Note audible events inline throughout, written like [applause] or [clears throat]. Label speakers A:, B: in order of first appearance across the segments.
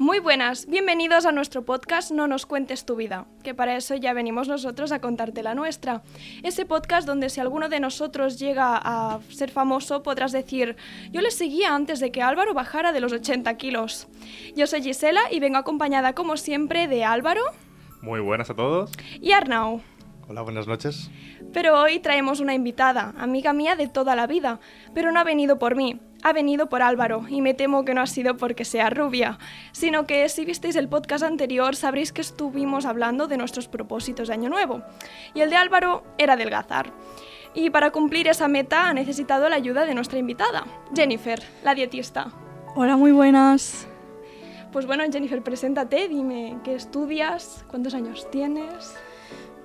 A: Muy buenas, bienvenidos a nuestro podcast No nos cuentes tu vida, que para eso ya venimos nosotros a contarte la nuestra. Ese podcast donde si alguno de nosotros llega a ser famoso podrás decir, yo le seguía antes de que Álvaro bajara de los 80 kilos. Yo soy Gisela y vengo acompañada como siempre de Álvaro
B: Muy buenas a todos.
A: y Arnau.
B: Hola, buenas noches.
A: Pero hoy traemos una invitada, amiga mía de toda la vida, pero no ha venido por mí, ha venido por Álvaro, y me temo que no ha sido porque sea rubia, sino que si visteis el podcast anterior sabréis que estuvimos hablando de nuestros propósitos de Año Nuevo, y el de Álvaro era adelgazar. Y para cumplir esa meta ha necesitado la ayuda de nuestra invitada, Jennifer, la dietista.
C: Hola, muy buenas.
A: Pues bueno, Jennifer, preséntate, dime qué estudias, cuántos años tienes.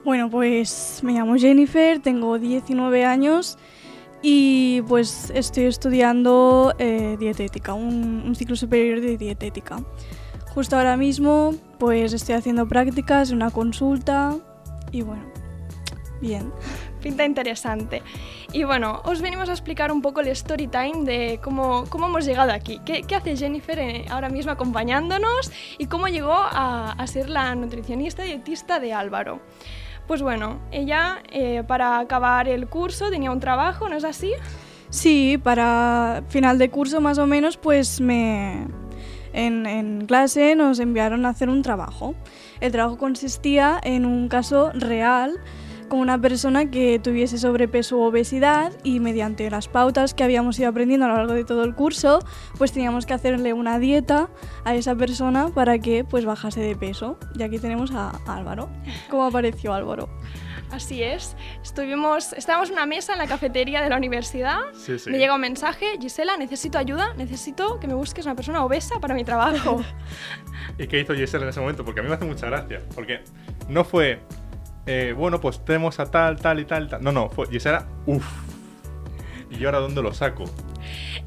C: Bueno, pues me llamo Jennifer, tengo 19 años y pues estoy estudiando eh, dietética, un, un ciclo superior de dietética. Justo ahora mismo pues estoy haciendo prácticas, una consulta y bueno, bien.
A: Pinta interesante. Y bueno, os venimos a explicar un poco el story time de cómo, cómo hemos llegado aquí. ¿Qué, qué hace Jennifer eh, ahora mismo acompañándonos y cómo llegó a, a ser la nutricionista y dietista de Álvaro? Pues bueno, ella eh, para acabar el curso tenía un trabajo, ¿no es así?
C: Sí, para final de curso más o menos, pues me en, en clase nos enviaron a hacer un trabajo. El trabajo consistía en un caso real con una persona que tuviese sobrepeso u obesidad y mediante las pautas que habíamos ido aprendiendo a lo largo de todo el curso, pues teníamos que hacerle una dieta a esa persona para que pues bajase de peso. Y aquí tenemos a Álvaro. ¿Cómo apareció Álvaro?
A: Así es. Estuvimos, estábamos en una mesa en la cafetería de la universidad.
B: Sí, sí.
A: Me llega un mensaje, Gisela, necesito ayuda, necesito que me busques una persona obesa para mi trabajo.
B: ¿Y qué hizo Giselle en ese momento? Porque a mí me hace mucha gracia. Porque no fue, eh, bueno, pues tenemos a tal, tal y tal, tal. No, no, fue Gisela, uff. ¿Y yo ahora dónde lo saco?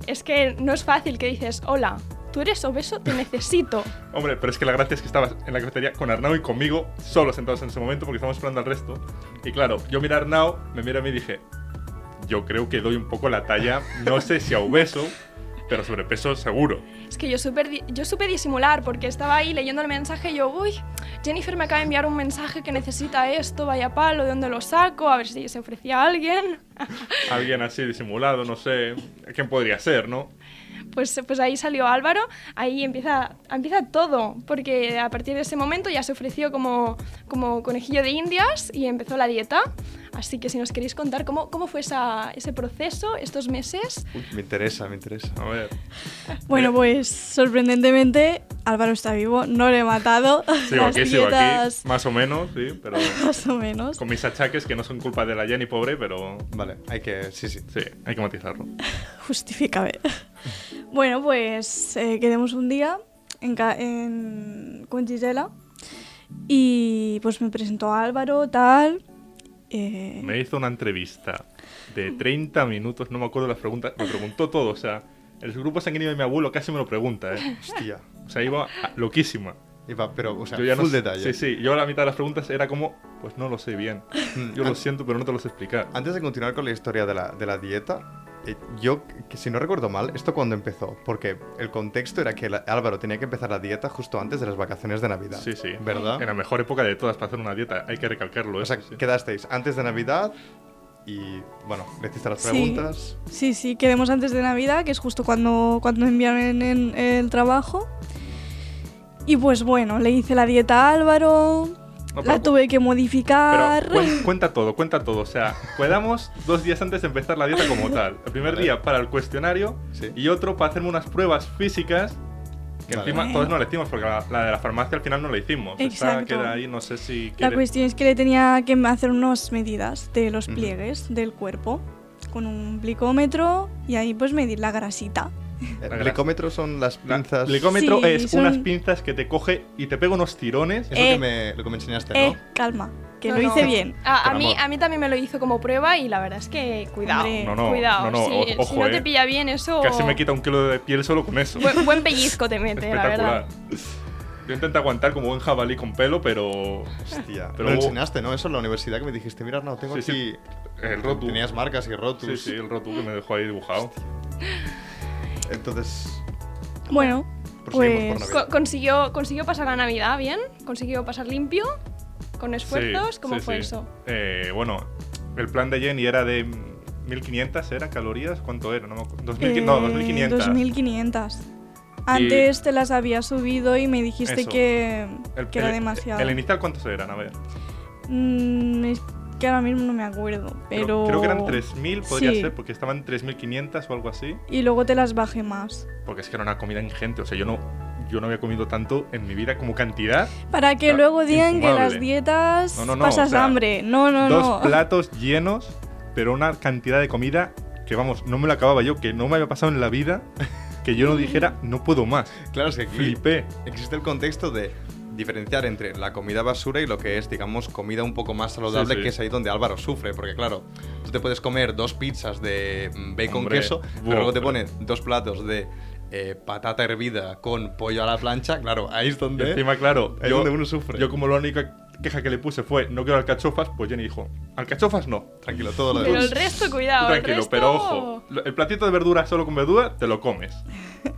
A: Es que no es fácil que dices, hola, tú eres obeso, te necesito.
B: Hombre, pero es que la gracia es que estabas en la cafetería con Arnau y conmigo, solos sentados en ese momento, porque estábamos esperando al resto. Y claro, yo miré a Arnau, me miré a mí y dije, yo creo que doy un poco la talla, no sé si a obeso, pero sobrepeso seguro.
A: Es que yo, super, di- yo supe disimular porque estaba ahí leyendo el mensaje y yo, uy, Jennifer me acaba de enviar un mensaje que necesita esto, vaya palo, ¿de dónde lo saco? A ver si se ofrecía a alguien. Ah,
B: Alguien así disimulado, no sé, ¿quién podría ser, no?
A: Pues, pues ahí salió Álvaro, ahí empieza, empieza todo, porque a partir de ese momento ya se ofreció como, como conejillo de indias y empezó la dieta. Así que si nos queréis contar cómo, cómo fue esa- ese proceso, estos meses,
D: Uy, me interesa, me interesa.
B: A ver. Eh,
C: Bueno, pues sorprendentemente Álvaro está vivo, no lo he matado.
B: [laughs] Sigo
C: Las
B: aquí, sigo
C: dietas,
B: aquí. Más o menos, sí,
C: [laughs]
B: pero
C: Más o menos.
B: con mis achaques que no son culpa de la Jenny pobre, pero
D: Vale, hay que. Sí, sí.
B: sí, hay que matizarlo.
C: Justifícame.
B: [laughs]
C: bueno, pues eh, quedemos un día en, ca- en- con Gisela y pues me presentó a Álvaro, tal. eh,
B: Me hizo una entrevista de 30 minutos, no me acuerdo las preguntas, me preguntó todo, o sea, el grupo sanguíneo de mi abuelo casi me lo pregunta, ¿eh?
D: Hostia.
B: O sea, iba a- loquísima.
D: Iba, pero, o sea,
B: Yo ya no
D: full
B: sé-
D: detalle.
B: Sí, sí, yo la mitad de las preguntas era como, pues no lo sé bien. Yo
D: Ah.
B: lo siento, pero no te lo sé explicar.
D: Mm, Antes de continuar con la historia de la, de la dieta, eh, yo, que si no recuerdo mal, esto cuando empezó, porque el contexto era que la- Álvaro tenía que empezar la dieta justo antes de las vacaciones de Navidad.
B: Sí, sí.
D: ¿Verdad?
B: En la mejor época de todas para hacer una dieta, hay que recalcarlo,
D: O
B: eso
D: sea,
B: sí.
D: quedasteis antes de Navidad y, bueno, le hiciste las
C: Sí.
D: preguntas.
C: Sí, sí, quedemos antes de Navidad, que es justo cuando, cuando enviaron en- en el trabajo. Y pues bueno, le hice la dieta a Álvaro,
B: No,
C: la
B: pero-
C: tuve que modificar.
B: Pero cuen- cuenta todo, cuenta todo. O sea, quedamos dos días antes de empezar la dieta como tal. El primer
D: Vale.
B: día para el cuestionario
D: Sí.
B: y otro para hacerme unas pruebas físicas. Que
D: Vale.
B: encima todos no le hicimos porque la, la de la farmacia al final no la hicimos. Esta
C: Exacto.
B: queda ahí, no sé si.
C: La
B: quiere-
C: cuestión es que le tenía que hacer unas medidas de los
D: Ujú.
C: pliegues del cuerpo con un glicómetro y ahí pues medir la grasita
D: El
B: La
D: glicómetro eh, son las
B: La-
D: pinzas.
B: Glicómetro
C: Sí,
B: es
C: son-
B: unas pinzas que te coge y te pega unos tirones.
D: Es lo,
C: Eh.
D: que me, lo que me enseñaste,
C: Eh,
D: ¿no?
C: calma, que
A: No,
C: lo
A: no. Ah,
C: hice bien.
A: A, a
D: Por
A: mí,
D: amor.
A: a mí también me lo hizo como prueba y la verdad es que cuidado.
C: Hombre.
B: No, no,
A: cuidado.
B: no, no,
A: si,
B: o-
A: si
B: ojo,
A: no
B: eh.
A: te pilla bien
C: Oh.
A: eso.
B: Casi me quita un kilo de piel solo con eso. [laughs]
A: Buen, buen pellizco te mete, la
B: Espectacular.
A: verdad.
B: Yo intento aguantar como buen jabalí con pelo, pero.
D: Hostia.
B: Pero
D: Pero lo
B: hubo-
D: enseñaste, ¿no? Eso en la universidad que me dijiste, mira, no, tengo
B: Sí,
D: aquí.
B: sí. El rotu.
D: Tenías marcas y
B: Sí,
D: rotus.
B: sí, el rotu que me dejó ahí dibujado.
D: Entonces,
C: Bueno,
D: Proseguimos
C: pues
D: por
A: Co- consiguió, consiguió pasar la Navidad bien, consiguió pasar limpio, con esfuerzos.
B: Sí,
A: ¿Cómo
B: sí,
A: fue
B: sí.
A: eso?
B: Eh, bueno, el plan de Jenny era de mm, 1500, ¿era? ¿Calorías? ¿Cuánto era? No, me acu- 2000, no
C: eh,
B: 2500.
C: 2500. Antes te las había subido y me dijiste
B: Eso.
C: que,
B: El-
C: que era
B: el-
C: demasiado.
B: ¿El inicial cuántos eran? A ver.
C: Mm, es que ahora mismo no me acuerdo,
B: creo-
C: pero...
B: Creo que eran 3000, podría
C: Sí.
B: ser, porque estaban 3500 o algo así.
C: Y luego te las bajé más.
B: Porque es que era una comida ingente. O sea, yo no, yo no había comido tanto en mi vida como cantidad.
C: Para que
B: Ah,
C: luego digan que
B: infumable.
C: las dietas
B: No, no, no,
C: pasas
B: o sea,
C: hambre. No, no,
B: Dos
C: no.
B: platos llenos, pero una cantidad de comida que, vamos, no me la acababa yo, que no me había pasado en la vida, [laughs] que yo no dijera, no puedo más.
D: claro, es que aquí
B: Flipé.
D: existe el contexto de diferenciar entre la comida basura y lo que es, digamos, comida un poco más saludable,
B: Sí, sí.
D: que es ahí donde Álvaro sufre, porque claro, tú te puedes comer dos pizzas de mm, bacon
B: Hombre,
D: queso,
B: buah,
D: pero luego te
B: pero-
D: ponen dos platos de eh, patata hervida con pollo a la plancha, claro, ahí es
B: Y
D: donde...
B: encima, claro,
D: ¿Eh? Ahí es donde uno sufre.
B: Yo, como la única queja que le puse fue, no quiero alcachofas, pues Jenny dijo, alcachofas no.
D: Tranquilo, todo lo
A: Pero
D: demás.
A: el resto,
B: Tú
A: cuidado. el
B: tranquilo,
A: resto-
B: pero ojo, lo- el platito de verduras solo con verdura, te lo comes.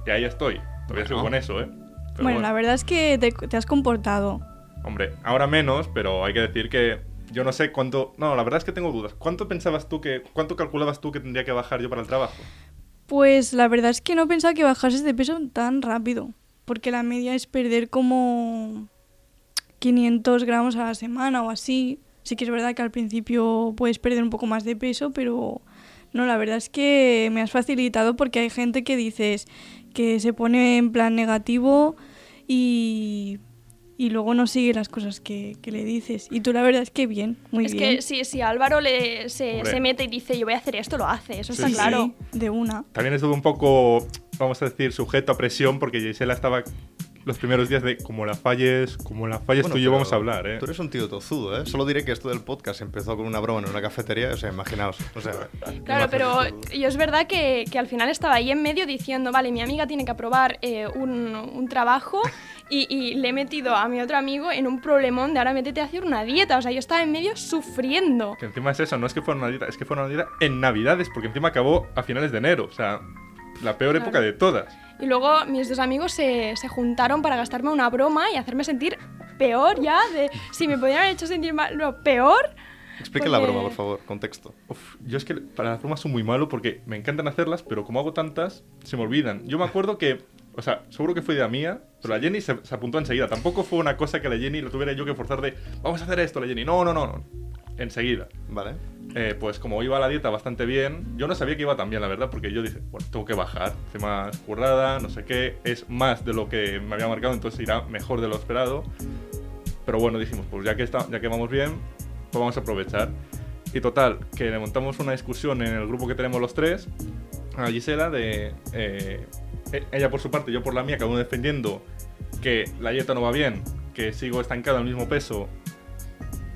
B: Y ahí estoy. Todavía sigo con
D: Bueno.
B: eso, ¿eh? Pero
C: Bueno, la verdad es que te, te has comportado.
B: Hombre, ahora menos, pero hay que decir que yo no sé cuánto. No, la verdad es que tengo dudas. ¿Cuánto pensabas tú que. ¿Cuánto calculabas tú que tendría que bajar yo para el trabajo?
C: Pues la verdad es que no pensaba que bajases de peso tan rápido. Porque la media es perder como 500 gramos a la semana o así. Sí que es verdad que al principio puedes perder un poco más de peso, pero no, la verdad es que me has facilitado porque hay gente que dices que se pone en plan negativo y, y luego no sigue las cosas que, que le dices. Y tú la verdad es que bien, muy
A: es
C: bien.
A: que si, si Álvaro le, se,
B: Hombre.
A: se mete y dice yo voy a hacer esto, lo hace, eso
B: Sí,
A: está
B: sí.
A: claro.
C: de una.
B: También estuve un poco, vamos a decir, sujeto a presión porque Gisela estaba los primeros días de como la falles, como la falles
D: Bueno,
B: tú y yo
D: pero
B: vamos a hablar, ¿eh?
D: Tú eres un tío tozudo, ¿eh? Solo diré que esto del podcast empezó con una broma en una cafetería, o sea, imaginaos. O sea,
A: Claro,
D: imaginaos.
A: pero yo es verdad que, que al final estaba ahí en medio diciendo, vale, mi amiga tiene que aprobar eh, un, un trabajo y, y le he metido a mi otro amigo en un problemón de ahora métete a hacer una dieta. O sea, yo estaba en medio sufriendo.
B: Que encima es eso, no es que fuera una dieta, es que fuera una dieta en Navidades porque encima acabó a finales de enero, o sea, la peor
A: Claro.
B: época de todas.
A: Y luego mis dos amigos se, se juntaron para gastarme una broma y hacerme sentir peor ya, de si me podían haber hecho sentir mal, no, peor.
D: Explica la
A: porque-
D: broma, por favor, contexto.
B: Uf, yo es que para las bromas soy muy malo porque me encantan hacerlas, pero como hago tantas, se me olvidan. Yo me acuerdo que, o sea, seguro que fue idea mía, pero la Jenny se, se apuntó enseguida. Tampoco fue una cosa que la Jenny la tuviera yo que forzar de, vamos a hacer esto, la Jenny. No, no, no, no. Enseguida.
D: ¿Vale?
B: Eh, pues como iba la dieta bastante bien, yo no sabía que iba tan bien, la verdad, porque yo dije, bueno, tengo que bajar, hace más currada, no sé qué, es más de lo que me había marcado, entonces irá mejor de lo esperado. Pero bueno, dijimos, pues ya que, está, ya que vamos bien, pues vamos a aprovechar. Y total, que le montamos una discusión en el grupo que tenemos los tres, a Gisela, de eh, e- ella por su parte, yo por la mía, cada uno defendiendo que la dieta no va bien, que sigo estancado al mismo peso,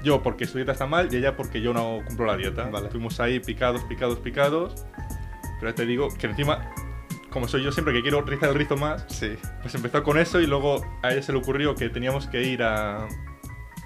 B: yo porque su dieta está mal y ella porque yo no cumplo la dieta.
D: Vale.
B: Fuimos ahí picados, picados, picados, pero ya te digo que encima, como soy yo siempre que quiero rizar el rizo más,
D: Sí.
B: pues empezó con eso y luego a ella se le ocurrió que teníamos que ir a,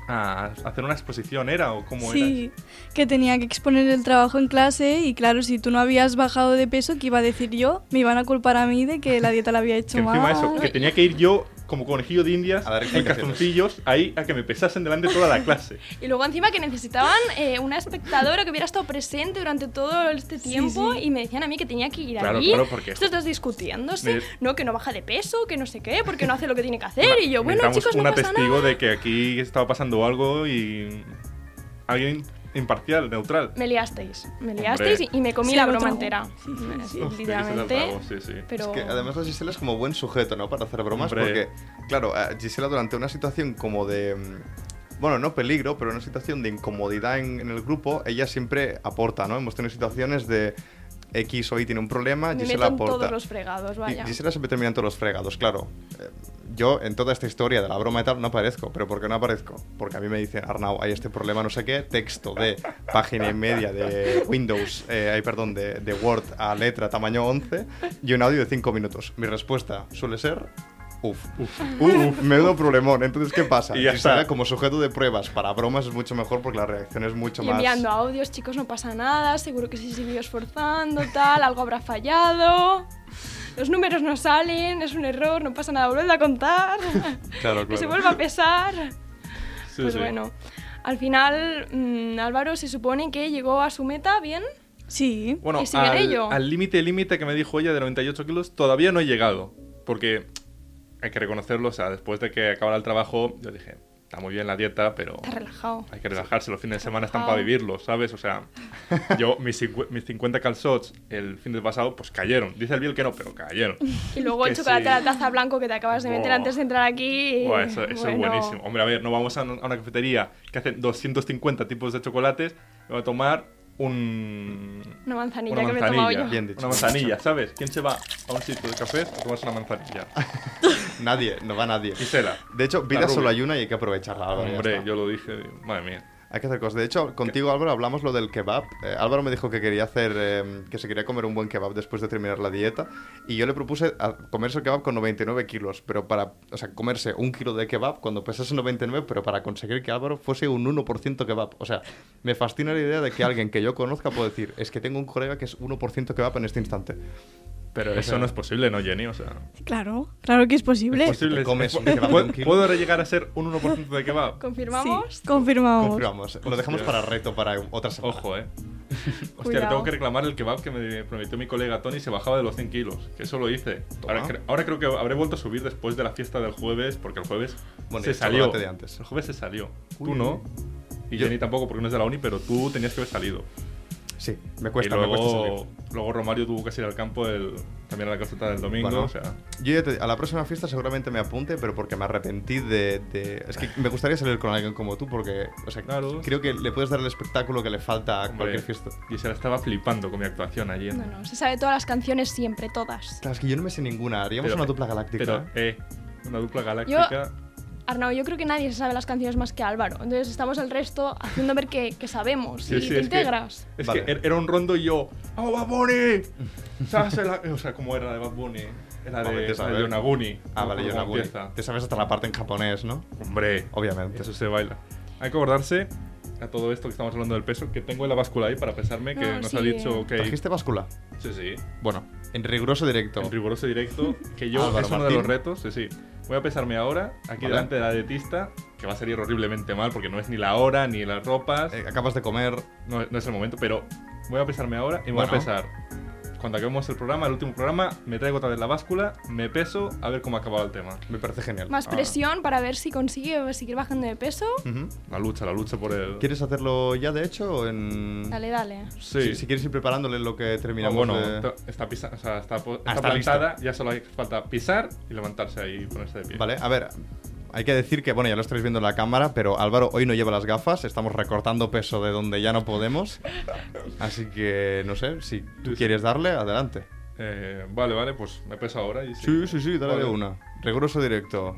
B: a hacer una exposición, ¿era? ¿O cómo
C: Sí, que tenía que exponer el trabajo en clase y claro, si tú no habías bajado de peso, ¿qué iba a decir yo? Me iban a culpar a mí de que la dieta la había
B: era? Que
C: hecho
B: encima
C: mal.
B: eso, que tenía que ir yo como conejillo de indias
D: A dar
B: en
D: explicaciones.
B: calzoncillos ahí a que me pesasen delante de toda la
A: [laughs]
B: clase.
A: Y luego encima que necesitaban eh, una espectadora que hubiera estado presente durante todo este tiempo
C: sí.
A: y me decían a mí que tenía que ir
B: Claro,
A: allí.
B: claro, porque-
A: Estos dos discutiéndose,
B: Me-
A: no, que no baja de peso, que no sé qué, porque no hace lo que tiene que hacer. y yo, bueno,
B: Necesitamos
A: chicos, no
B: una
A: pasa
B: testigo
A: nada.
B: de que aquí estaba pasando algo y alguien imparcial, neutral.
A: Me liasteis, me liasteis y, y me comí
C: Sí,
A: la
C: lo
A: broma
C: trago.
A: entera.
C: Sí, sí, sí.
B: Uf, tiene que ser
A: literalmente.
B: algo, sí, sí.
A: Pero...
D: Es que además la Gisela es como buen sujeto, ¿no? Para hacer bromas,
B: Hombre.
D: porque, claro, a Gisela durante una situación como de. mm, Bueno, no peligro, pero una situación de incomodidad en, en el grupo, ella siempre aporta, ¿no? Hemos tenido situaciones de. X hoy tiene un problema,
A: Me meto
D: Gisela
A: en todos
D: aporta.
A: los fregados,
D: Y
A: vaya.
D: Gisela siempre termina en todos los fregados, claro. Eh, Yo en toda esta historia de la broma y tal no aparezco. ¿Pero por qué no aparezco? Porque a mí me dicen, Arnau, hay este problema, no sé qué, texto de página y media de Windows, eh, ay, perdón, de, de Word a letra tamaño 11 y un audio de 5 minutos. Mi respuesta suele ser... Uf, uf, uf, menudo problemón. Entonces, ¿qué pasa?
B: Y ya
D: Gisela,
B: está.
D: como sujeto de pruebas para bromas es mucho mejor porque la reacción es mucho
A: Y
D: más.
A: enviando audios, chicos, no pasa nada, seguro que si siguió esforzando, tal, algo habrá fallado. Los números no salen, es un error, no pasa nada, vuelve a contar. [laughs]
D: Claro,
A: que se
D: claro.
A: vuelva a pesar.
B: [laughs] Sí,
A: pues
B: sí.
A: bueno, al final mm, Álvaro se supone que llegó a su meta bien.
C: Sí.
B: Bueno,
A: ¿Y sigue en
B: al
A: ello?
B: al límite límite que me dijo ella de 98 kilos, todavía no he llegado. Porque hay que reconocerlo, o sea, después de que acabara el trabajo, yo dije, está muy bien la dieta, pero
A: Está Oh. relajado.
B: hay que relajarse, los fines de semana están
A: Relajado.
B: para vivirlos, ¿sabes?
A: [laughs]
B: O sea, yo mis, cincu- mis 50 calzots el fin de pasado, pues cayeron. Dice el Bill que no, pero
A: [laughs]
B: cayeron.
A: Y luego el
B: que
A: chocolate
B: sí.
A: a la taza blanco que te acabas de meter
B: Buah.
A: antes de entrar aquí. y
B: Buah, eso, eso
A: bueno,
B: es buenísimo. Hombre, a ver, no vamos a, un- a una cafetería que hace 250 tipos de chocolates, y vamos a tomar un...
A: Una manzanilla,
B: una
A: que me he tomado
B: manzanilla,
A: yo.
D: Bien dicho.
B: Una manzanilla, ¿sabes? ¿Quién se va a un sitio de café a tomarse una manzanilla?
D: Ah, Nadie, no va nadie.
B: Gisela.
D: De hecho, vida
B: rubia.
D: solo hay una y hay que aprovecharla. Álvaro, ya
B: Hombre,
D: está.
B: yo lo dije, digo, madre mía.
D: Hay que hacer cosas. De hecho, contigo, Álvaro, hablamos lo del kebab. Eh, Álvaro me dijo que quería hacer, eh, que se quería comer un buen kebab después de terminar la dieta. Y yo le propuse a- comerse el kebab con 99 kilos, pero para, o sea, comerse un kilo de kebab cuando pesase 99, pero para conseguir que Álvaro fuese un 1% kebab. O sea, me fascina la idea de que alguien que yo conozca puede decir, es que tengo un colega que es 1% kebab en este instante.
B: Pero eso no es posible, ¿no, Jenny? O sea,
C: Claro, claro que es posible.
B: es posible.
D: Te comes
B: es-
D: un kebab de
B: ¿Puedo-
D: un kilo.
B: ¿Puedo llegar a ser un 1% de kebab?
A: ¿Confirmamos?
C: Sí, confirmamos.
D: Confirmamos. Lo dejamos para reto para otra semana.
B: Ojo,
A: [laughs]
B: eh. Hostia, le
A: Cuidado.
B: tengo que reclamar el kebab que me prometió mi colega Tony se bajaba de los 100 kilos. Que eso lo hice. Ahora,
D: Toma.
B: cre- ahora creo que habré vuelto a subir después de la fiesta del jueves, porque el jueves
D: Bueno, y
B: se
D: el
B: salió.
D: chocolate de antes.
B: El jueves se salió.
D: Uy.
B: Tú no. Y
D: Yo-
B: Jenny tampoco, porque no es de la uni, pero tú tenías que haber salido.
D: Sí, me cuesta,
B: y
D: me cuesta
B: luego,
D: salir.
B: luego Romario tuvo que ir al campo el, también a la calceta del domingo.
D: Bueno.
B: O sea,
D: Yo ya te- a la próxima fiesta seguramente me apunte, pero porque me arrepentí de, de- Es que me gustaría salir con alguien como tú, porque o sea,
B: Claro.
D: creo que le puedes dar el espectáculo que le falta a cualquier
B: hombre,
D: fiesta.
B: Gisela estaba flipando con mi actuación ayer.
A: No, no, se sabe todas las canciones siempre, todas.
D: Claro, es que yo no me sé ninguna. Haríamos
B: Pero-
D: una dupla galáctica.
B: Pero,
D: ¿eh?
B: eh, una dupla galáctica.
A: Arnau, yo creo que nadie se sabe las canciones más que Álvaro. Entonces estamos el resto haciendo ver que, que sabemos
B: Sí,
A: y
B: sí,
A: te
B: es que-
A: integras.
B: Es
D: Vale.
B: que er- era un rondo y yo, ¡Oh, Bad Bunny! ¿Sabes la- O sea, ¿cómo era la de Bad Bunny? Era
D: Hombre,
B: de,
D: te
B: la
D: sabes.
B: de Yonaguni.
D: Ah,
B: ¿no?
D: vale,
B: ¿Cómo
D: yo no
B: empieza?
D: Te sabes hasta la parte en japonés, ¿no?
B: Hombre,
D: Obviamente.
B: eso se baila. Hay que acordarse a todo esto que estamos hablando del peso, que tengo en la báscula ahí para pesarme que
A: No,
B: nos
A: sí.
B: ha dicho que...
D: ¿Trajiste báscula?
B: Sí, sí.
D: Bueno, en riguroso directo.
B: En riguroso directo, que yo
D: Álvaro
B: es uno
D: Ah, Martín.
B: de los retos, sí, sí. Voy a pesarme ahora, aquí
D: Vale.
B: delante de la dietista, que va a salir horriblemente mal porque no es ni la hora, ni las ropas.
D: Eh, acabas de comer.
B: No, no es el momento, pero voy a pesarme ahora y me voy a
D: Bueno.
B: pesar. Cuando acabemos el programa, el último programa, me traigo otra vez la báscula, me peso, a ver cómo ha acabado el tema.
D: Me parece genial.
B: Ah.
A: Más presión para ver si consigue seguir bajando de peso.
D: Ujú.
B: La lucha, la lucha por el...
D: ¿Quieres hacerlo ya, de hecho? o
B: Mm.
D: En...
A: Dale, dale.
B: Sí.
D: Si, si quieres ir preparándole lo que
B: Ah,
D: terminamos
B: bueno,
D: de-
B: ta- está, pisa- o sea, está, po- está
D: Ah, está
B: plantada, ya solo hay- falta pisar y levantarse ahí y ponerse de pie.
D: Vale, a ver, hay que decir que, bueno, ya lo estáis viendo en la cámara, pero Álvaro hoy no lleva las gafas, estamos recortando peso de donde ya no podemos. Así que, no sé, si tú quieres darle, adelante.
B: Eh, vale, vale, pues me peso ahora y
D: Sí, sí, sí, dale
B: Vale.
D: de una. Riguroso directo.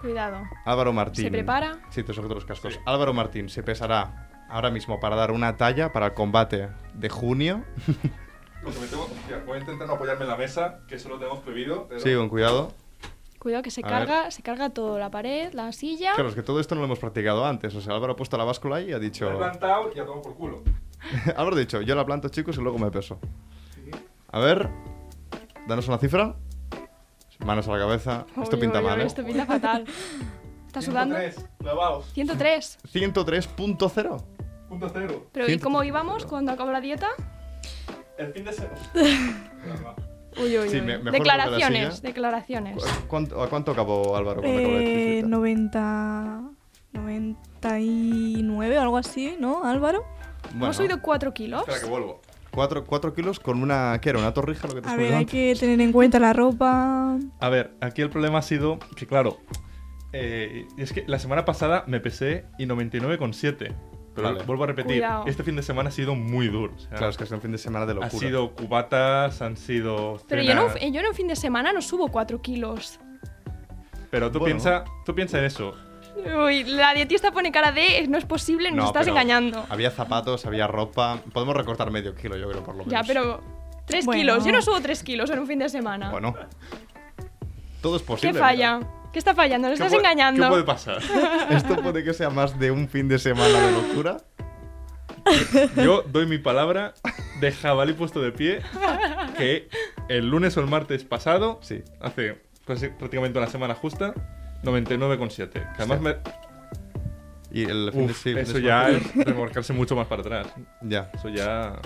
A: Cuidado.
D: Álvaro Martín.
A: ¿Se prepara?
D: Sí, te sujeto los cascos. Álvaro Martín se pesará ahora mismo para dar una talla para el combate de junio.
B: Lo que me tengo- hostia, voy a intentar no apoyarme en la mesa, que eso lo tenemos prohibido. pero-
D: Sí, con cuidado.
A: Cuidado que se
D: A
A: carga, se carga todo, la pared, la silla.
D: Claro, es que todo esto no lo hemos practicado antes. O sea, Álvaro ha puesto la báscula ahí y ha dicho...
B: Me he plantado y ya tomo por culo.
D: [laughs] Álvaro ha dicho, yo la planto, chicos, y luego me peso. A ver, danos una cifra. Manos a la cabeza. esto
A: Uy,
D: pinta
A: uy, uy,
D: mal, ¿eh?
A: Esto pinta fatal. ¿Estás sudando?
B: 103, clavaos,
A: 103.
D: 103.0.
B: punto cero.
A: Pero ¿y
D: 103,
A: cómo íbamos cuando acabó la dieta?
B: El fin
A: [laughs]
B: de semana.
A: Uy, uy,
D: Sí,
A: uy.
D: me- mejor porque la
A: declaraciones,
D: silla- Pues,
A: declaraciones.
D: ¿Cu- cuánto- ¿A cuánto acabó Álvaro cuando acabó la
C: Eh,
D: bicicleta?
C: 90... 99 o algo así, ¿no, Álvaro?
D: Bueno,
A: Hemos subido 4 kilos.
B: Espera que vuelvo.
D: 4, kilos con una... ¿Qué era? ¿Una torrija
B: Pues
D: lo que te
C: A
D: has
C: ver,
D: comido
C: hay
D: antes?
C: que tener en cuenta la ropa.
B: A ver, aquí el problema ha sido que, claro, eh, es que la semana pasada me pesé y 99,7. Pero
D: Vale.
B: vuelvo a repetir,
A: Cuidado.
B: este fin de semana ha sido muy duro. o sea,
D: Claro, es que ha sido un fin de semana de
B: ha
D: locura.
B: sido cubatas, han sido.
A: Pero yo, no,
B: cenas.
A: yo en un fin de semana no subo 4 kilos.
B: Pero tú
D: Bueno.
B: piensa, tú piensa en eso.
A: Uy, la dietista pone cara de no es posible, nos
D: No,
A: estás
D: pero
A: engañando.
D: Había zapatos, había ropa. Podemos recortar medio kilo, yo creo, por lo menos.
A: Ya, pero 3
C: Bueno.
A: kilos. Yo no subo 3 kilos en un fin de semana.
D: Bueno. Todo es
A: ¿Qué
D: posible.
A: falla? ¿Qué está fallando? Nos
B: ¿Qué
A: estás
B: puede-
A: engañando.
B: ¿Qué puede pasar?
D: mira. Esto puede que sea más de un fin de semana de locura.
B: Yo doy mi palabra de jabalí puesto de pie que el lunes o el martes pasado,
D: Sí.
B: hace casi- prácticamente una semana justa, 99,7. Que además me,
D: Y el fin de
B: uf,
D: sí,
B: eso
D: es-
B: ya es remorcarse mucho más para atrás.
D: Ya.
B: Eso ya...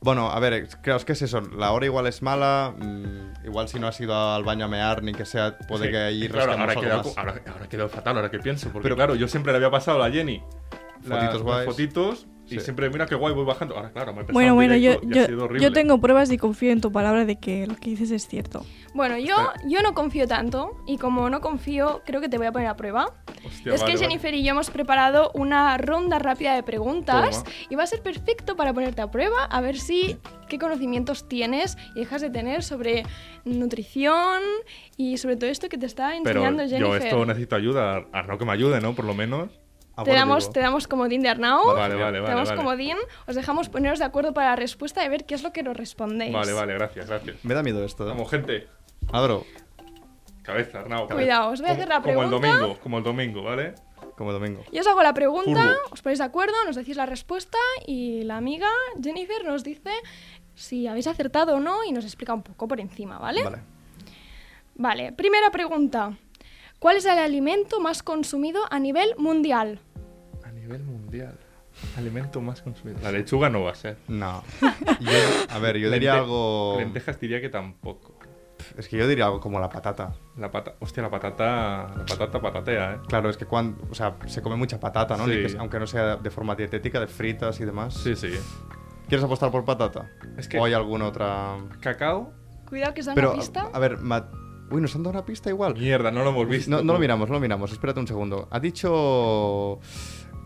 D: Bueno, a ver, es- claro, es que es eso. La hora igual es mala. mm, igual si no has ido al baño a mear ni que sea, puede
B: Sí,
D: que ahí
B: claro,
D: rasquemos
B: ahora
D: algo
B: queda,
D: más.
B: ahora, ahora queda fatal, ahora que pienso. Porque
D: Pero-
B: claro, yo siempre le había pasado a la Jenny las-
D: Fotitos
B: las
D: guays.
B: fotitos y
D: Sí.
B: siempre, mira qué guay, voy bajando. Ahora, claro, me he
C: Bueno, bueno, yo,
B: y ha sido
C: yo,
B: horrible.
C: yo tengo pruebas y confío en tu palabra de que lo que dices es cierto.
A: Bueno, yo, yo no confío tanto y como no confío, creo que te voy a poner a prueba.
B: Hostia,
A: es que
B: vale, vale.
A: Jennifer y yo hemos preparado una ronda rápida de preguntas
B: Toma.
A: y va a ser perfecto para ponerte a prueba, a ver si qué conocimientos tienes y dejas de tener sobre nutrición y sobre todo esto que te está enseñando
B: Pero yo
A: Jennifer.
B: esto necesito ayuda. Arnau que me ayude, ¿no? Por lo menos.
D: Ah,
A: te,
D: bueno,
A: damos,
D: digo,
A: te damos comodín de Arnau.
B: Vale, vale,
A: te
B: vale.
A: damos
B: vale.
A: comodín, os dejamos poneros de acuerdo para la respuesta y ver qué es lo que nos respondéis.
B: Vale, vale, gracias, gracias.
D: Me da miedo esto. ¿eh?
B: Vamos, gente.
D: Álvaro,
B: Cabeza, Arnau. cabeza.
A: Cuidado, os voy a hacer la
B: Como- Como
A: pregunta.
B: el domingo, como el domingo, ¿vale?
D: como domingo.
A: Yo os hago la pregunta,
B: Curvo.
A: os ponéis de acuerdo, nos decís la respuesta y la amiga Jennifer nos dice si habéis acertado o no y nos explica un poco por encima, ¿vale?
D: Vale.
A: Vale, primera pregunta. ¿Cuál es el alimento más consumido a nivel mundial?
B: A nivel mundial. Alimento más consumido. La lechuga no va a ser.
D: No.
B: [laughs]
D: Yo- a ver, yo diría
B: Lente-
D: algo.
B: Lentejas diría que tampoco.
D: Es que yo diría algo como la patata.
B: La pata... Hostia, la patata... La patata patatea, ¿eh?
D: Claro, es que cuando, o sea, se come mucha patata, ¿no? Ni
B: Sí.
D: que sea- aunque no sea de forma dietética, de fritas y demás.
B: Sí, sí.
D: ¿Quieres apostar por patata?
B: Es que-
D: ¿O hay alguna otra...?
B: ¿Cacao?
A: Cuidado que os dan
D: Pero,
A: la pista.
D: a ver, ma- Uy, nos han dado una pista igual.
B: Mierda, no lo hemos visto.
D: No, no lo miramos, no lo miramos. Espérate un segundo. Ha dicho...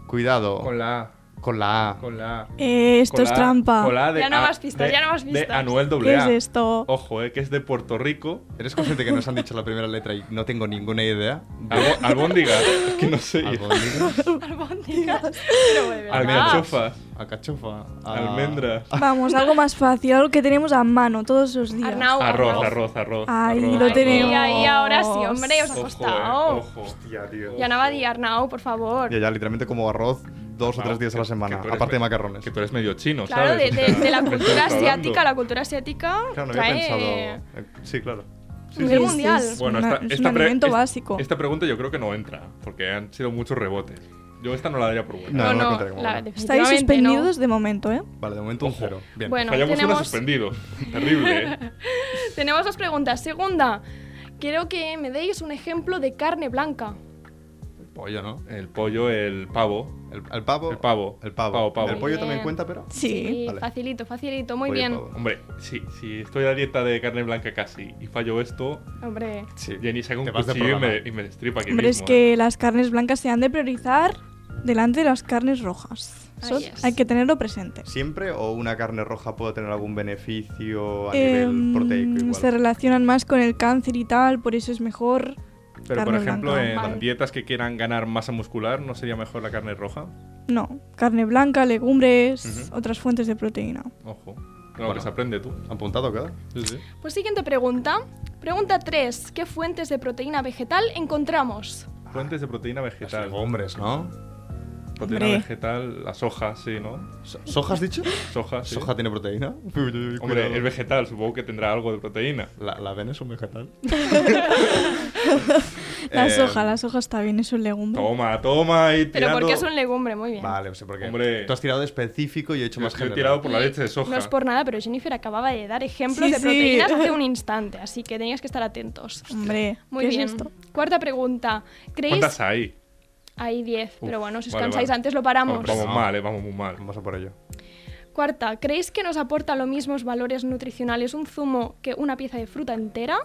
D: Cuidado.
B: Con la A.
D: con la A.
B: Con la A.
C: Eh, esto
B: Con
C: es
B: la A-
C: trampa.
B: con la A de
A: Ya no
B: A-
A: más pistas,
B: de-
A: ya no más
B: De
A: pistas.
B: Anuel
C: ¿Qué
B: AA.
C: es esto?
B: Ojo, eh, que es de Puerto Rico.
D: ¿Eres consciente que nos han dicho la primera letra y no tengo ninguna idea?
B: Albo- albóndiga, [laughs] que no sé.
D: Albóndigas,
A: Albóndigas. [laughs] Pero bueno, de verdad.
B: Almenchofas,
D: Alcachofa. ah,
B: almendras,
C: Vamos, algo más fácil, algo que tenemos a mano todos los días.
A: Arnau,
B: arroz,
A: Arnau.
B: arroz, arroz.
C: Ay,
B: arroz,
C: lo
B: arroz.
C: tenemos.
A: Y ahí ahora sí, hombre, os ha
B: Ojo,
A: costado.
B: eh, ojo. Hostia, tío.
A: Ya no va a decir Arnau, por favor.
D: Ya, ya, literalmente como arroz dos o
B: Vamos,
D: tres días a la
B: que-
D: semana,
B: que tú eres
D: aparte de
B: me-
D: macarrones.
B: Que tú eres medio chino,
A: Claro, de,
B: ¿sabes? O
A: de-
B: sea, [laughs]
A: de la
B: me estás
A: cultura
B: hablando.
A: asiática, la cultura asiática
D: Claro, no había pensado...
A: trae...
D: eh, Sí, claro.
C: Sí,
A: Nivel
C: sí,
A: mundial.
C: es
B: Bueno,
C: una-
B: esta,
C: es
B: esta
C: un
B: pre-
C: alimento
B: es-
C: básico.
B: Esta pregunta yo creo que no entra, porque han sido muchos rebotes. Yo esta no la daría por buena.
A: No,
D: No, no la
A: no,
D: contaré como
A: la-
D: buena.
C: Estáis
A: definitivamente
C: suspendidos de momento, ¿eh?
D: Vale, de momento un
B: Ojo.
D: cero. Bien.
A: Bueno,
B: Fallamos
A: tenemos-
B: una suspendidos.
A: [laughs]
B: Terrible, ¿eh?
A: no. Tenemos dos preguntas. Segunda, quiero que me deis un ejemplo de carne blanca.
D: Pollo, ¿no?
B: El pollo, el pavo.
D: El, el pavo.
B: El pavo.
D: El pavo.
B: Pavo, pavo.
D: El pollo también
A: Bien.
D: cuenta, pero.
C: Sí.
D: vale.
A: facilito, facilito, muy
D: Pollo,
A: bien.
D: pavo.
B: Hombre, sí, si estoy a la dieta de carne blanca casi y fallo esto,
A: Hombre,
D: Sí.
B: Jenny saca un
D: Te vas de
B: cuchillo y me,
D: programa.
B: y me destripa aquí
C: Hombre, es
B: mismo. ¿eh?
C: que las carnes blancas se han de priorizar delante de las carnes rojas.
A: Ahí
C: Eso
A: es.
C: hay que tenerlo presente.
D: ¿Siempre o una carne roja puede tener algún beneficio a nivel
C: Em,
D: proteico? Igual?
C: se relacionan más con el cáncer y tal, por eso es mejor.
B: Pero por
C: carne
B: ejemplo,
C: blanca.
B: en
A: Vale.
B: dietas que quieran ganar masa muscular, ¿no sería mejor la carne roja?
C: No, carne blanca, legumbres,
B: Ujú.
C: otras fuentes de proteína.
B: Ojo. Claro, que
D: Bueno.
B: se aprende tú.
D: ¿Apuntado queda?
B: Sí, sí.
A: pues siguiente pregunta. Pregunta 3. ¿Qué fuentes de proteína vegetal encontramos?
B: Fuentes de proteína
D: Los
B: vegetal.
D: legumbres, ¿no?
B: Proteína
C: Hombre.
B: vegetal, las hojas, sí, ¿no?
D: So- ¿Soja has dicho?
B: Soja, Ah, sí.
D: ¿Soja tiene proteína? [laughs] Uy, uy, uy,
B: Hombre,
D: cuidado.
B: es vegetal, supongo que tendrá algo de proteína.
D: ¿La, ¿La avena es
C: [laughs]
D: un vegetal?
C: La
D: Eh,
C: soja, la soja está bien, es un legumbre.
B: Toma, toma y
A: Pero
B: tirando.
A: porque es un legumbre, muy bien.
D: Vale, o sea, porque
B: Hombre.
D: tú has tirado de específico y yo he hecho
B: Yo-
D: más
B: yo he
D: general.
B: tirado por la
A: Y
B: leche de soja.
A: No es por nada, pero Jennifer acaba de dar ejemplos
C: Sí,
A: de
C: sí.
A: proteínas hace
C: [laughs]
A: un instante, así que tenías que estar atentos.
C: Hombre,
A: Muy
C: ¿qué
A: bien.
C: es esto?
A: Cuarta pregunta. ¿Creéis?
B: ¿Cuántas hay?
A: Hay 10, pero bueno, si os
B: vale,
A: cansáis
B: vale.
A: antes lo paramos.
B: Vamos
D: no.
B: mal, eh, vamos muy mal.
D: Vamos a por ello.
A: Cuarta, ¿creéis que nos aporta los mismos valores nutricionales un zumo que una pieza de fruta entera?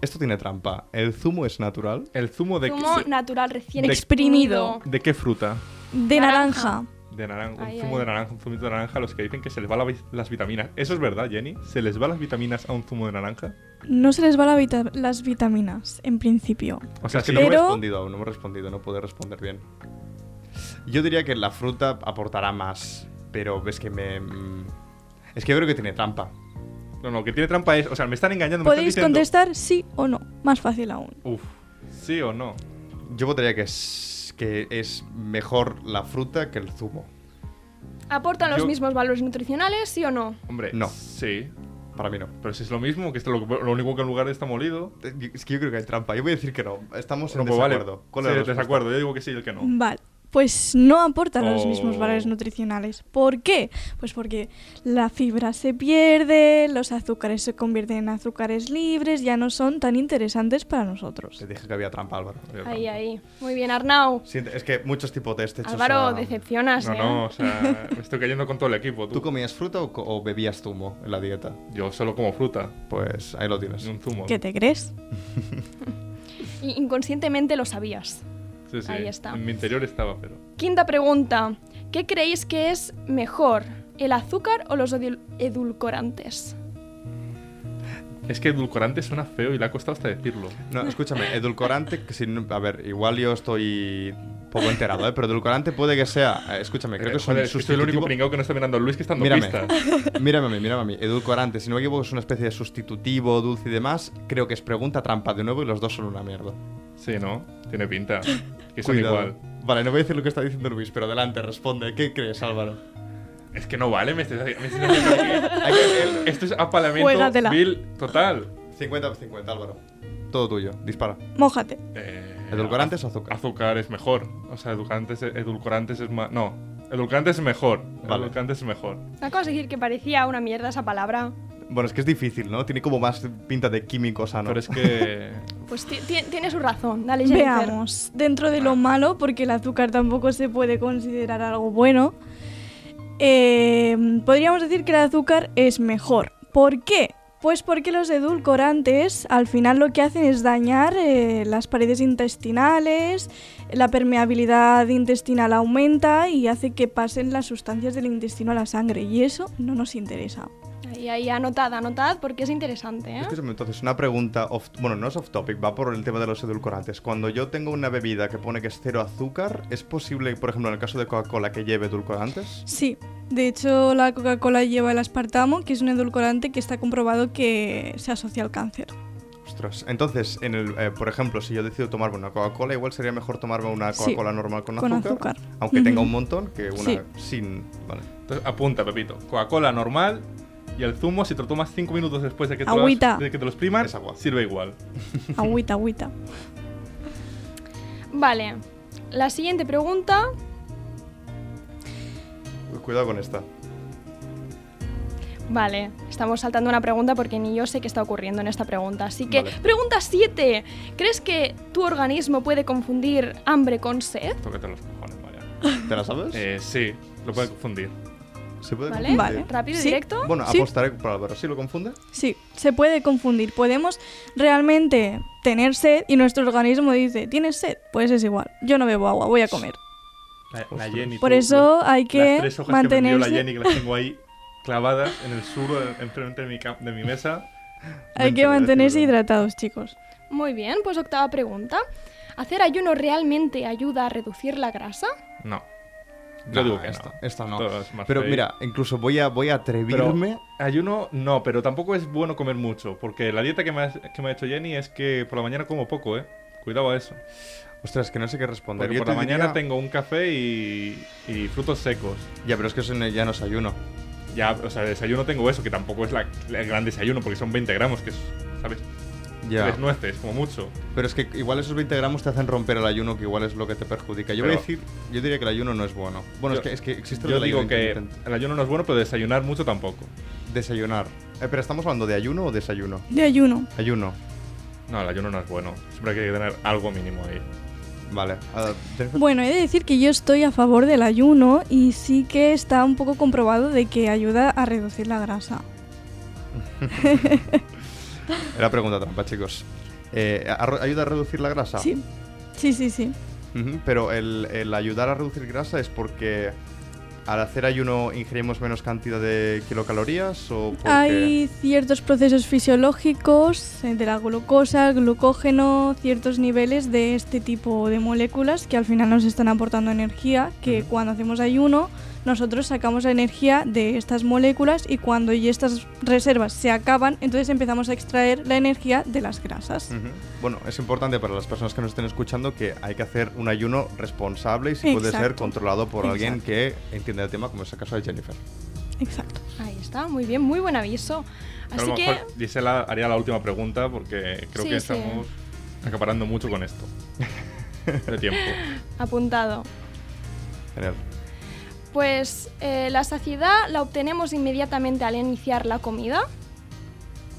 D: Esto tiene trampa. ¿El zumo es natural?
B: ¿El zumo de,
A: zumo
B: qué,
A: natural recién
B: de-
A: exprimido.
B: de qué fruta?
C: De naranja.
B: de naranja, un
A: Ay,
B: zumo
A: ay.
B: de naranja, un zumito de naranja, los que dicen que se les va la vi- las vitaminas. ¿Eso es verdad, Jenny? ¿Se les va las vitaminas a un zumo de naranja?
C: No se les va la vita- las vitaminas, en principio.
B: O sea,
D: es que
B: sí.
D: no me he
C: Pero-
D: respondido aún, no me he respondido, no puedo responder bien. Yo diría que la fruta aportará más, pero ves que me... mm, Es que yo creo que tiene trampa.
B: No, no, que tiene trampa es. O sea, me están engañando. Me están
C: Podéis
B: diciendo-
C: contestar sí o no, más fácil aún.
B: Uf, ¿sí o no?
D: Yo votaría que es, que es mejor la fruta que el zumo.
A: ¿Aportan los
B: Yo-
A: mismos valores nutricionales, sí o no?
B: Hombre,
D: No.
B: Sí.
D: Para mí no.
B: Pero si es lo mismo, que esto lo, lo único que en lugar de está molido.
D: Eh, yo- Es que yo creo que hay trampa. Yo voy a decir que no. Estamos en
B: No, pues vale.
D: desacuerdo. ¿Cuál
B: Sí,
D: es la respuesta?
B: desacuerdo. Yo digo que sí y el que no.
C: Vale. Pues no aportan los mismos
B: Oh.
C: valores nutricionales. ¿Por qué? Pues porque la fibra se pierde, los azúcares se convierten en azúcares libres, ya no son tan interesantes para nosotros.
D: Te dije que había trampa, Álvaro.
A: Ahí, ahí. Muy bien, Arnau.
D: Sí, es que muchos tipos de este hecho
A: Álvaro,
D: son-
A: decepcionas,
B: No,
A: ¿eh?
B: no, o sea, me estoy cayendo con todo el equipo. Tú.
D: ¿Tú comías fruta o, co- o bebías zumo en la dieta?
B: Yo solo como fruta,
D: Pues ahí lo tienes.
B: ni un zumo.
C: ¿Qué te crees?
A: Y inconscientemente lo sabías.
B: Sí, sí.
A: Ahí está.
B: En mi interior estaba, pero.
A: Quinta pregunta. ¿Qué creéis que es mejor, el azúcar o los edul- edulcorantes?
B: Es que edulcorante suena feo y le ha costado hasta decirlo.
D: No, escúchame, edulcorante, que si no- a ver, igual yo estoy poco enterado, ¿eh? pero edulcorante puede que sea, eh, escúchame, creo que es un
B: Joder, es que soy el único
D: sustitutivo-
B: pringao que no está mirando a Luis que está dando
D: Mírame,
B: pistas.
D: [laughs] mírame a mí, mírame a mí. Edulcorante, si no me equivoco, es una especie de sustitutivo, dulce y demás. Creo que es pregunta trampa de nuevo y los dos son una mierda.
B: Sí, ¿no? Tiene pinta. Que son
D: Cuidado.
B: igual.
D: Vale, no voy a decir lo que está diciendo Luis, pero adelante, responde. ¿Qué crees, Álvaro?
B: Es que no vale, me estás haciendo- me estás haciendo aquí.
D: Hay
A: [laughs]
D: que-
B: Esto es apalamiento
C: Juégatela.
B: vil total.
D: 50-50, Álvaro. Todo tuyo, dispara.
C: Mójate.
B: Eh,
D: ¿Edulcorantes o
B: az-
D: azúcar?
B: Azúcar es mejor. O sea, edulcorantes, edulcorantes es más. No, edulcorantes es mejor.
D: Vale.
B: Edulcorantes es mejor.
A: Acabas de decir que parecía una mierda esa palabra.
D: Bueno, es que es difícil, ¿no? Tiene como más pinta de químico sano.
B: Pero es que.
A: Pues ti- ti- tiene su razón. Dale, Jennifer.
C: Veamos, dentro de lo malo, porque el azúcar tampoco se puede considerar algo bueno, eh, podríamos decir que el azúcar es mejor. ¿Por qué? Pues porque los edulcorantes al final lo que hacen es dañar eh, las paredes intestinales, la permeabilidad intestinal aumenta y hace que pasen las sustancias del intestino a la sangre y eso no nos interesa.
A: Ahí, ahí, anotad, anotad porque es interesante, ¿eh?
D: Escúchame, Este entonces, una pregunta off... Bueno, no es off topic, va por el tema de los edulcorantes. Cuando yo tengo una bebida que pone que es cero azúcar, ¿es posible, por ejemplo, en el caso de Coca-Cola, que lleve edulcorantes?
C: Sí, de hecho la Coca-Cola lleva el aspartamo, que es un edulcorante que está comprobado que se asocia al cáncer.
D: Ostras. Entonces, en el, eh, por ejemplo, si yo decido tomarme una Coca-Cola, igual sería mejor tomarme una
C: Sí,
D: Coca-Cola normal con,
C: con
D: azúcar,
C: azúcar.
D: Aunque tenga
C: Ujú.
D: un montón, que una
C: Sí.
D: sin. Vale.
B: [laughs] Entonces, apunta, Pepito. Coca-Cola normal y el zumo, si te lo tomas 5 minutos después de que, te lo,
C: Agüita.
B: has- de que te lo expriman,
D: Es agua.
B: sirve igual. [laughs]
C: Agüita, agüita.
A: Vale. La siguiente pregunta.
D: Uy, Cuidado con esta.
A: Vale, estamos saltando una pregunta porque ni yo sé qué está ocurriendo en esta pregunta. Así que,
D: Vale.
A: pregunta 7. ¿Crees que tu organismo puede confundir hambre con sed?
B: Tócate los cojones, vaya.
D: ¿Te la sabes?
B: Eh, sí, lo puede confundir.
D: ¿Se puede
A: ¿Vale?
D: confundir?
C: Vale.
A: ¿Rápido y
C: Sí.
A: directo?
D: Bueno,
C: Sí.
D: apostaré por Álvaro. ¿Sí lo confunde?
C: Sí, se puede confundir. Podemos realmente tener sed y nuestro organismo dice, ¿tienes sed? Pues es igual. Yo no bebo agua, voy a comer.
B: La,
D: Ostras.
B: Jenny.
C: Por
B: tú,
C: eso
B: los-
C: hay que
B: Las tres hojas que me envió
C: mantenerse-
B: la Jenny, que las tengo ahí clavadas en el suelo, en- enfrente de mi, ca- de mi mesa.
C: Hay que mantenerse hidratados, chicos.
A: Muy bien, pues octava pregunta. ¿Hacer ayuno realmente ayuda a reducir la grasa?
B: No. Yo
D: No,
B: digo que
D: esta,
B: no.
D: esta no.
B: Todo es más
D: Pero
B: fake.
D: mira, incluso voy a, voy a atrevirme.
B: Ayuno no, pero tampoco es bueno comer mucho, porque la dieta que me, ha, que me ha hecho Jenny es que por la mañana como poco, ¿eh? Cuidado a eso.
D: Ostras, que no sé qué responder.
B: Porque
D: Yo
B: por
D: te
B: la mañana
D: diría-
B: tengo un café y, y frutos secos.
D: Ya, pero es que eso no- ya no es ayuno.
B: Ya, o sea, de desayuno tengo eso, que tampoco es la, el gran desayuno, porque son 20 gramos, que es, ¿sabes?
D: Ya.
B: Tres nueces, como mucho.
D: Pero es que igual esos 20 gramos te hacen romper el ayuno, que igual es lo que te perjudica. Yo voy
B: Pero-
D: a decir, yo diría que el ayuno no es bueno. Bueno,
B: Yo-
D: es, que, es que existe lo
B: Yo
D: del
B: digo
D: ayuno
B: que
D: intermitente.
B: el ayuno no es bueno, pero desayunar mucho tampoco.
D: Desayunar. Eh, pero estamos hablando de ayuno o desayuno.
C: De ayuno.
D: Ayuno.
B: No, el ayuno no es bueno. Siempre hay que tener algo mínimo ahí.
D: Vale. Ah, Jennifer,
C: Bueno, he de decir que yo estoy a favor del ayuno y sí que está un poco comprobado de que ayuda a reducir la grasa.
D: Era pregunta trampa, chicos. Eh, ¿a- ¿Ayuda a reducir la grasa?
C: Sí. Sí, sí, sí.
D: Ujú, pero el, el ayudar a reducir grasa es porque ¿Al hacer ayuno ingerimos menos cantidad de kilocalorías o porque...
C: Hay ciertos procesos fisiológicos eh, de la glucosa, el glucógeno, ciertos niveles de este tipo de moléculas que al final nos están aportando energía, que cuando hacemos ayuno nosotros sacamos la energía de estas moléculas y cuando ya estas reservas se acaban, entonces empezamos a extraer la energía de las grasas.
D: Ujú. Bueno, es importante para las personas que nos estén escuchando que hay que hacer un ayuno responsable y si puede ser
C: Exacto.
D: controlado por alguien que entienda el tema, como es el caso de Jennifer.
C: Exacto.
A: Ahí está, muy bien, muy buen aviso.
B: a
A: Así
B: lo
A: que
B: mejor Gisela haría la última pregunta porque creo
A: Sí,
B: que
A: sí.
B: estamos acaparando mucho con esto. [laughs] De tiempo.
A: apuntado.
D: Genial.
A: Pues eh, la saciedad la obtenemos inmediatamente al iniciar la comida.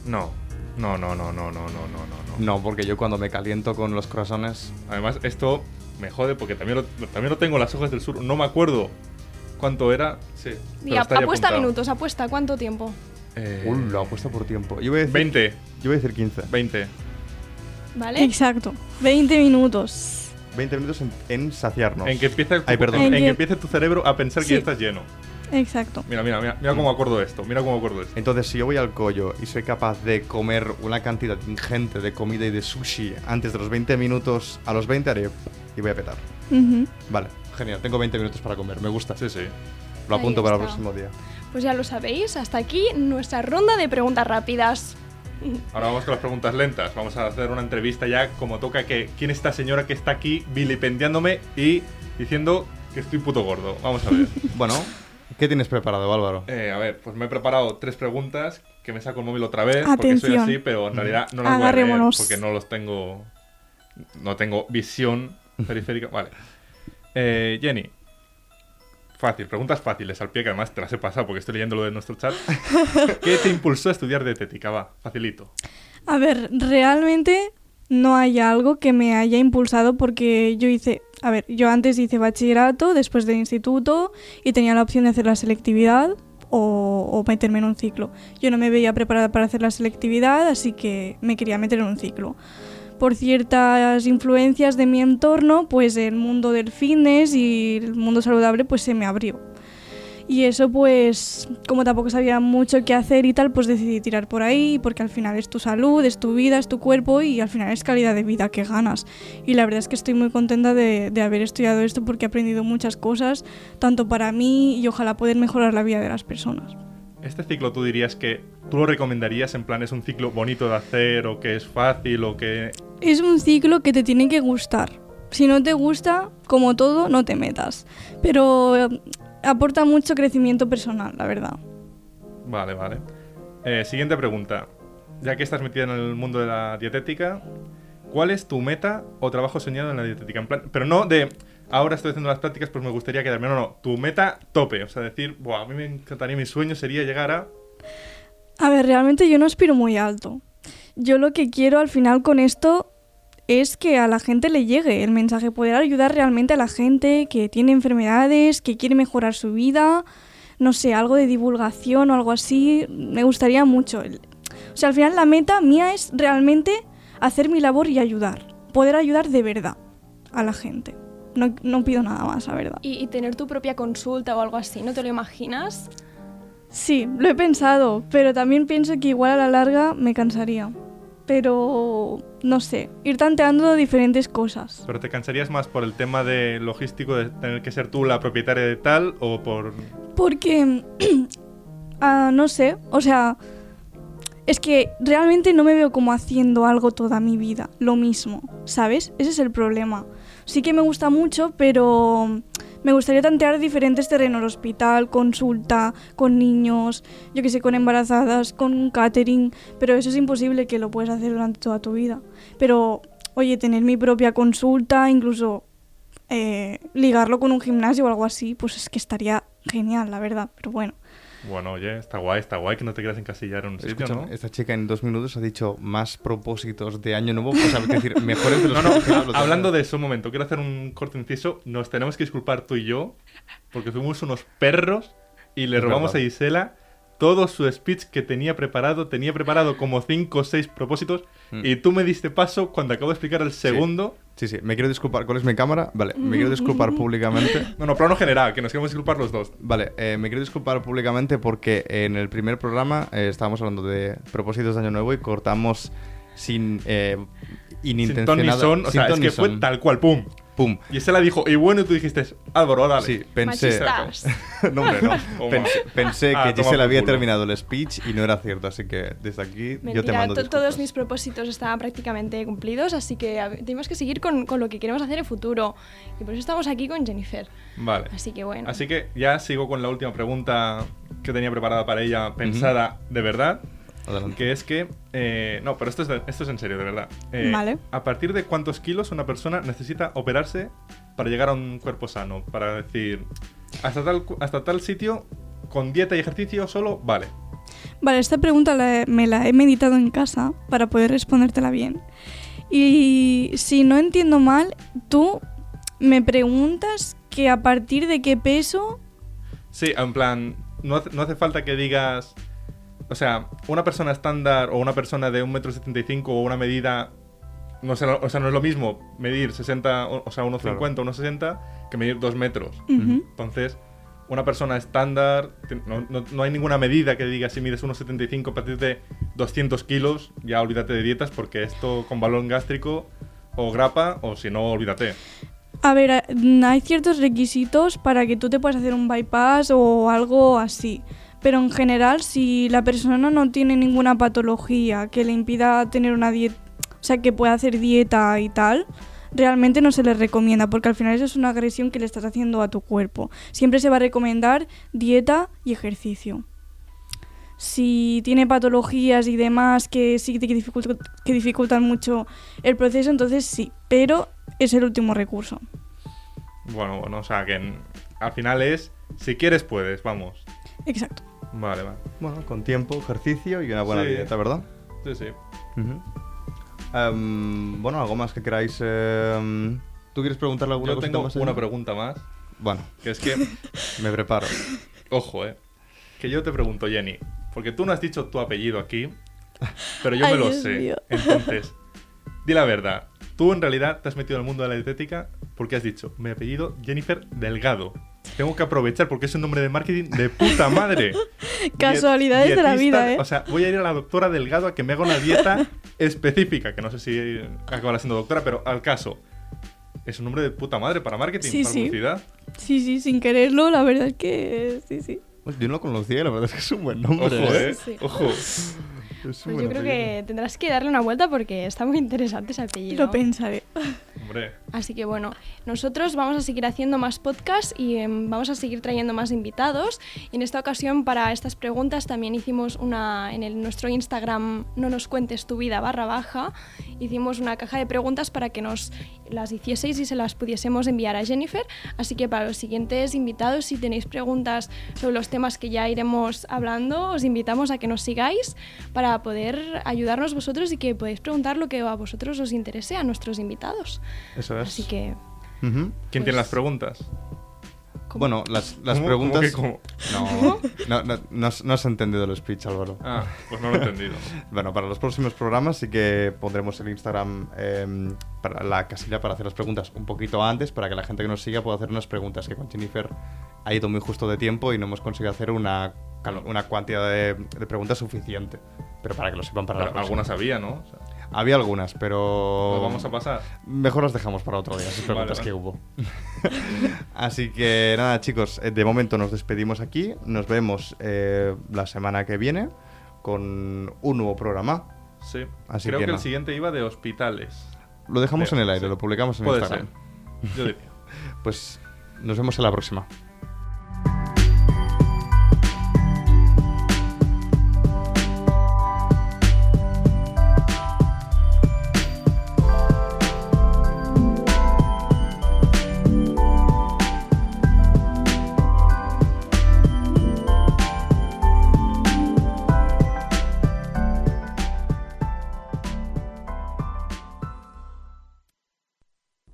B: No, no, no, no, no, no, no, no, no. no.
D: No, porque yo cuando me caliento con los corazones...
B: Además, esto me jode porque también lo, también lo tengo en las hojas del sur. No me acuerdo cuánto era. Sí.
A: Y ap-
B: pero está ahí
A: apuesta
B: apuntado.
A: minutos, apuesta cuánto tiempo.
B: Eh,
D: Uh, lo apuesta por tiempo. Yo voy a decir,
B: 20,
D: Yo voy a decir 15.
B: 20.
A: ¿Vale?
C: Exacto. 20 minutos.
D: 20 minutos en, en saciarnos.
B: En que empieza,
D: Ay, perdón.
B: En,
C: En
B: que
C: que-
B: empiece tu cerebro a pensar que
C: Sí.
B: ya estás lleno.
C: Exacto.
B: Mira, mira, mira, mira
D: Mm.
B: cómo acuerdo esto. Mira cómo acuerdo esto.
D: Entonces, si yo voy al collo y soy capaz de comer una cantidad ingente de comida y de sushi antes de los 20 minutos, a los 20 haré y voy a petar.
C: Ujú.
D: Vale, genial, tengo 20 minutos para comer, me gusta.
B: Sí, sí.
D: Lo
A: Ahí
D: apunto para el
A: está.
D: próximo día.
A: Pues ya lo sabéis, hasta aquí nuestra ronda de preguntas rápidas.
B: Ahora vamos con las preguntas lentas. Vamos a hacer una entrevista ya como toca que quién es esta señora que está aquí vilipendiándome y diciendo que estoy puto gordo. Vamos a
C: [laughs]
B: ver.
D: Bueno, ¿qué tienes preparado, Álvaro?
B: Eh, a ver, pues me he preparado tres preguntas que me saco el móvil otra vez porque soy
C: Atención.
B: así, pero en realidad no las voy a leer
C: Agarrémonos.
B: porque no los tengo. No tengo
C: [laughs]
B: visión periférica. Vale. Eh, Jenny. Fácil, preguntas fáciles al pie que además te las he pasado porque estoy leyendo lo de nuestro
C: [laughs]
B: chat. ¿Qué te impulsó a estudiar dietética? Va, facilito.
C: A ver, realmente no hay algo que me haya impulsado porque yo hice, a ver, yo antes hice bachillerato, después del instituto y tenía la opción de hacer la selectividad o, o meterme en un ciclo. Yo no me veía preparada para hacer la selectividad, así que me quería meter en un ciclo. Por ciertas influencias de mi entorno, pues el mundo del fitness y el mundo saludable pues se me abrió. Y eso pues, como tampoco sabía mucho qué hacer y tal, pues decidí tirar por ahí, porque al final es tu salud, es tu vida, es tu cuerpo y al final es calidad de vida que ganas. Y la verdad es que estoy muy contenta de, de haber estudiado esto porque he aprendido muchas cosas, tanto para mí y ojalá poder mejorar la vida de las personas.
B: ¿Este ciclo tú dirías que tú lo recomendarías en plan es un ciclo bonito de hacer o que es fácil o que...
C: Es un ciclo que te tiene que gustar. Si no te gusta, como todo, no te metas. Pero eh, aporta mucho crecimiento personal, la verdad.
B: Vale, vale. Eh, siguiente pregunta. Ya que estás metida en el mundo de la dietética, ¿cuál es tu meta o trabajo soñado en la dietética? En plan, pero no de ahora estoy haciendo las prácticas, pues me gustaría quedarme. No, no, tu meta tope. O sea, decir, Buah, a mí me encantaría, mi sueño sería llegar a...
C: A ver, realmente yo no aspiro muy alto. Yo lo que quiero al final con esto es que a la gente le llegue el mensaje, poder ayudar realmente a la gente que tiene enfermedades, que quiere mejorar su vida, no sé, algo de divulgación o algo así, me gustaría mucho. El- O sea, al final la meta mía es realmente hacer mi labor y ayudar, poder ayudar de verdad a la gente. No, no pido nada más, la verdad.
A: Y, y tener tu propia consulta o algo así, ¿no te lo imaginas?
C: Sí, lo he pensado, pero también pienso que igual a la larga me cansaría. Pero no sé, ir tanteando diferentes cosas.
B: Pero te cansarías más por el tema de logístico de tener que ser tú la propietaria de tal o por...
C: Porque, [clears throat] ah, no sé, o sea, es que realmente no me veo como haciendo algo toda mi vida, lo mismo, ¿sabes? Ese es el problema. Sí que me gusta mucho, pero me gustaría tantear diferentes terrenos, hospital, consulta, con niños, yo que sé, con embarazadas, con catering, pero eso es imposible que lo puedes hacer durante toda tu vida. Pero, oye, tener mi propia consulta, incluso eh, ligarlo con un gimnasio o algo así, pues es que estaría genial, la verdad, pero bueno.
B: Bueno, oye, está guay, está guay que no te quieras encasillar en un sitio,
D: Escúchame,
B: ¿no?
D: esta chica en dos minutos ha dicho más propósitos de año nuevo, o sea, es decir, mejores de los
B: No, no,
D: [laughs] que yo lo
B: [laughs]
D: tengo.
B: hablando de eso un momento, quiero hacer un corte inciso. Nos tenemos que disculpar tú y yo porque fuimos unos perros y le
D: Es
B: robamos
D: verdad.
B: a Gisela todo su speech que tenía preparado. Tenía preparado como 5 o 6 propósitos. Y tú me diste paso cuando acabo de explicar el segundo.
D: Mm. Sí, sí, me quiero disculpar. ¿Cuál es mi cámara? Vale, me quiero disculpar públicamente.
B: No, no, plano general, que nos queremos disculpar los dos.
D: Vale, eh, me quiero disculpar públicamente porque en el primer programa eh, estábamos hablando de propósitos de Año Nuevo y cortamos sin eh,
B: Sin ton ni
D: inintencionada.
B: son. O sea,
D: sin
B: es
D: ton
B: que
D: ni
B: fue
D: son.
B: tal cual, pum.
D: Pum.
B: Y esa la dijo, y bueno, y tú dijiste, Álvaro, dale.
D: Sí, pensé.
A: Machistas.
D: [laughs] No, hombre, no.
B: [laughs] Toma.
D: [laughs] Pensé, pensé
B: Ah,
D: que
B: toma
D: Giselle
B: por
D: había
B: culo.
D: terminado el speech y no era cierto, así que desde aquí yo te
A: Mentira,
D: mando.
A: to- todos
D: disculpas.
A: mis propósitos estaban prácticamente cumplidos, así que a ver, tenemos que seguir con, con lo que queremos hacer en el futuro. Y por eso estamos aquí con Jennifer.
B: Vale.
A: Así que bueno.
B: Así que ya sigo con la última pregunta que tenía preparada para ella, pensada de verdad.
D: Adelante.
B: Que es que. eh, no, pero esto es, de- esto es en serio, de verdad. Eh,
C: Vale.
B: ¿A partir de cuántos kilos una persona necesita operarse para llegar a un cuerpo sano? Para decir, hasta tal, cu- hasta tal sitio, con dieta y ejercicio solo, vale.
C: Vale, esta pregunta la he- me la he meditado en casa para poder respondértela bien. Y si no entiendo mal, tú me preguntas que a partir de qué peso...
B: Sí, en plan, no hace, no hace falta que digas. O sea, una persona estándar o una persona de 1,75m o una medida. No sé, o sea, no es lo mismo medir 60, o o sea, 1,50, 1,60 que medir 2 metros.
C: Ujú.
B: Entonces, una persona estándar, te- no, no- no hay ninguna medida que diga si mides 1,75 a partir de 200 kilos, ya olvídate de dietas porque esto con balón gástrico o grapa o si no, olvídate.
C: A ver, a- mm, hay ciertos requisitos para que tú te puedas hacer un bypass o algo así. Pero en general, si la persona no tiene ninguna patología que le impida tener una dieta, o sea, que pueda hacer dieta y tal, realmente no se le recomienda, porque al final eso es una agresión que le estás haciendo a tu cuerpo. Siempre se va a recomendar dieta y ejercicio. Si tiene patologías y demás que sí que, dificult- que dificultan mucho el proceso, entonces sí, pero es el último recurso.
B: Bueno, bueno, o sea, que en- al final es, si quieres puedes, vamos.
C: Exacto.
B: Vale, vale.
D: Bueno, con tiempo, ejercicio y una buena
B: Sí.
D: dieta, ¿verdad?
B: Sí, sí.
D: Ujú. Em, bueno, algo más que queráis. em, ¿Tú quieres preguntarle alguna
B: Yo
D: cosita
B: tengo
D: más? ¿eh?
B: una
D: Elena?
B: pregunta más,
D: Bueno,
B: que es
D: [laughs]
B: que,
D: me preparo.
B: ojo, eh, que yo te pregunto, Jenny, porque tú no has dicho tu apellido aquí, pero yo
C: Ay,
B: me lo
C: Dios
B: sé.
C: mío.
B: [laughs] Entonces, di la verdad. Tú en realidad te has metido en el mundo de la dietética porque has dicho, mi apellido Jennifer Delgado. Tengo que aprovechar porque es un nombre de marketing de puta
C: [laughs]
B: madre.
C: Casualidades
B: Die-
C: de la
B: dietista-
C: vida, ¿eh?
B: O sea, voy a ir a la doctora Delgado a que me haga una
C: [laughs]
B: dieta específica, que no sé si acabará siendo doctora, pero al caso. Es un nombre de puta madre para marketing,
C: Sí,
B: para
C: sí.
B: publicidad.
C: Sí, sí, sin quererlo, la verdad es que sí, sí.
D: Pues yo no lo conocía, la verdad es que es un buen nombre.
B: Ojo,
D: ¿eh?
B: eh.
A: Sí, sí.
B: Ojo.
D: Es un
A: Pues
D: buen
A: yo creo
D: apellido.
A: que tendrás que darle una vuelta porque está muy interesante ese apellido.
C: Lo pensaré.
B: Hombre.
A: Así que bueno, nosotros vamos a seguir haciendo más podcasts y em, vamos a seguir trayendo más invitados. Y en esta ocasión para estas preguntas también hicimos una en el, nuestro Instagram no nos cuentes tu vida barra baja. Hicimos una caja de preguntas para que nos las hicieseis y se las pudiésemos enviar a Jennifer. Así que para los siguientes invitados, si tenéis preguntas sobre los temas que ya iremos hablando, os invitamos a que nos sigáis para poder ayudarnos vosotros y que podéis preguntar lo que a vosotros os interese a nuestros invitados.
D: Eso es.
A: Así que,
D: Ujú.
B: ¿Quién tiene
C: Pues-
B: las preguntas?
A: ¿cómo?
D: Bueno, las, las
B: ¿Cómo? ¿Cómo
D: preguntas.
B: que cómo?
D: No, no, no, no has, no has entendido el speech, Álvaro.
B: Ah, pues no lo he entendido.
D: Bueno, [laughs] para los próximos programas sí que pondremos el Instagram, eh, para la casilla para hacer las preguntas un poquito antes, para que la gente que nos siga pueda hacer unas preguntas, que con Jennifer ha ido muy justo de tiempo y no hemos conseguido hacer una, calo- una cantidad de, de preguntas suficiente. Pero para que lo sepan para la
B: Pero
D: próxima. Oh.
B: algunas había, ¿no? O sea,
D: Había algunas, pero...
B: lo vamos a pasar.
D: Mejor las dejamos para otro día, esas preguntas
B: Vale, [laughs]
D: que hubo. Así que nada, chicos, eh, de momento nos despedimos aquí. Nos vemos eh, la semana que viene con un nuevo programa.
B: Sí.
D: Así
B: Creo
D: que
B: que,
D: no.
B: el siguiente iba de hospitales.
D: Lo dejamos
B: Sí,
D: en el aire,
B: sí.
D: lo publicamos en
B: Puede
D: Instagram.
B: ser. Yo diría.
D: Pues nos vemos en la próxima.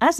E: Has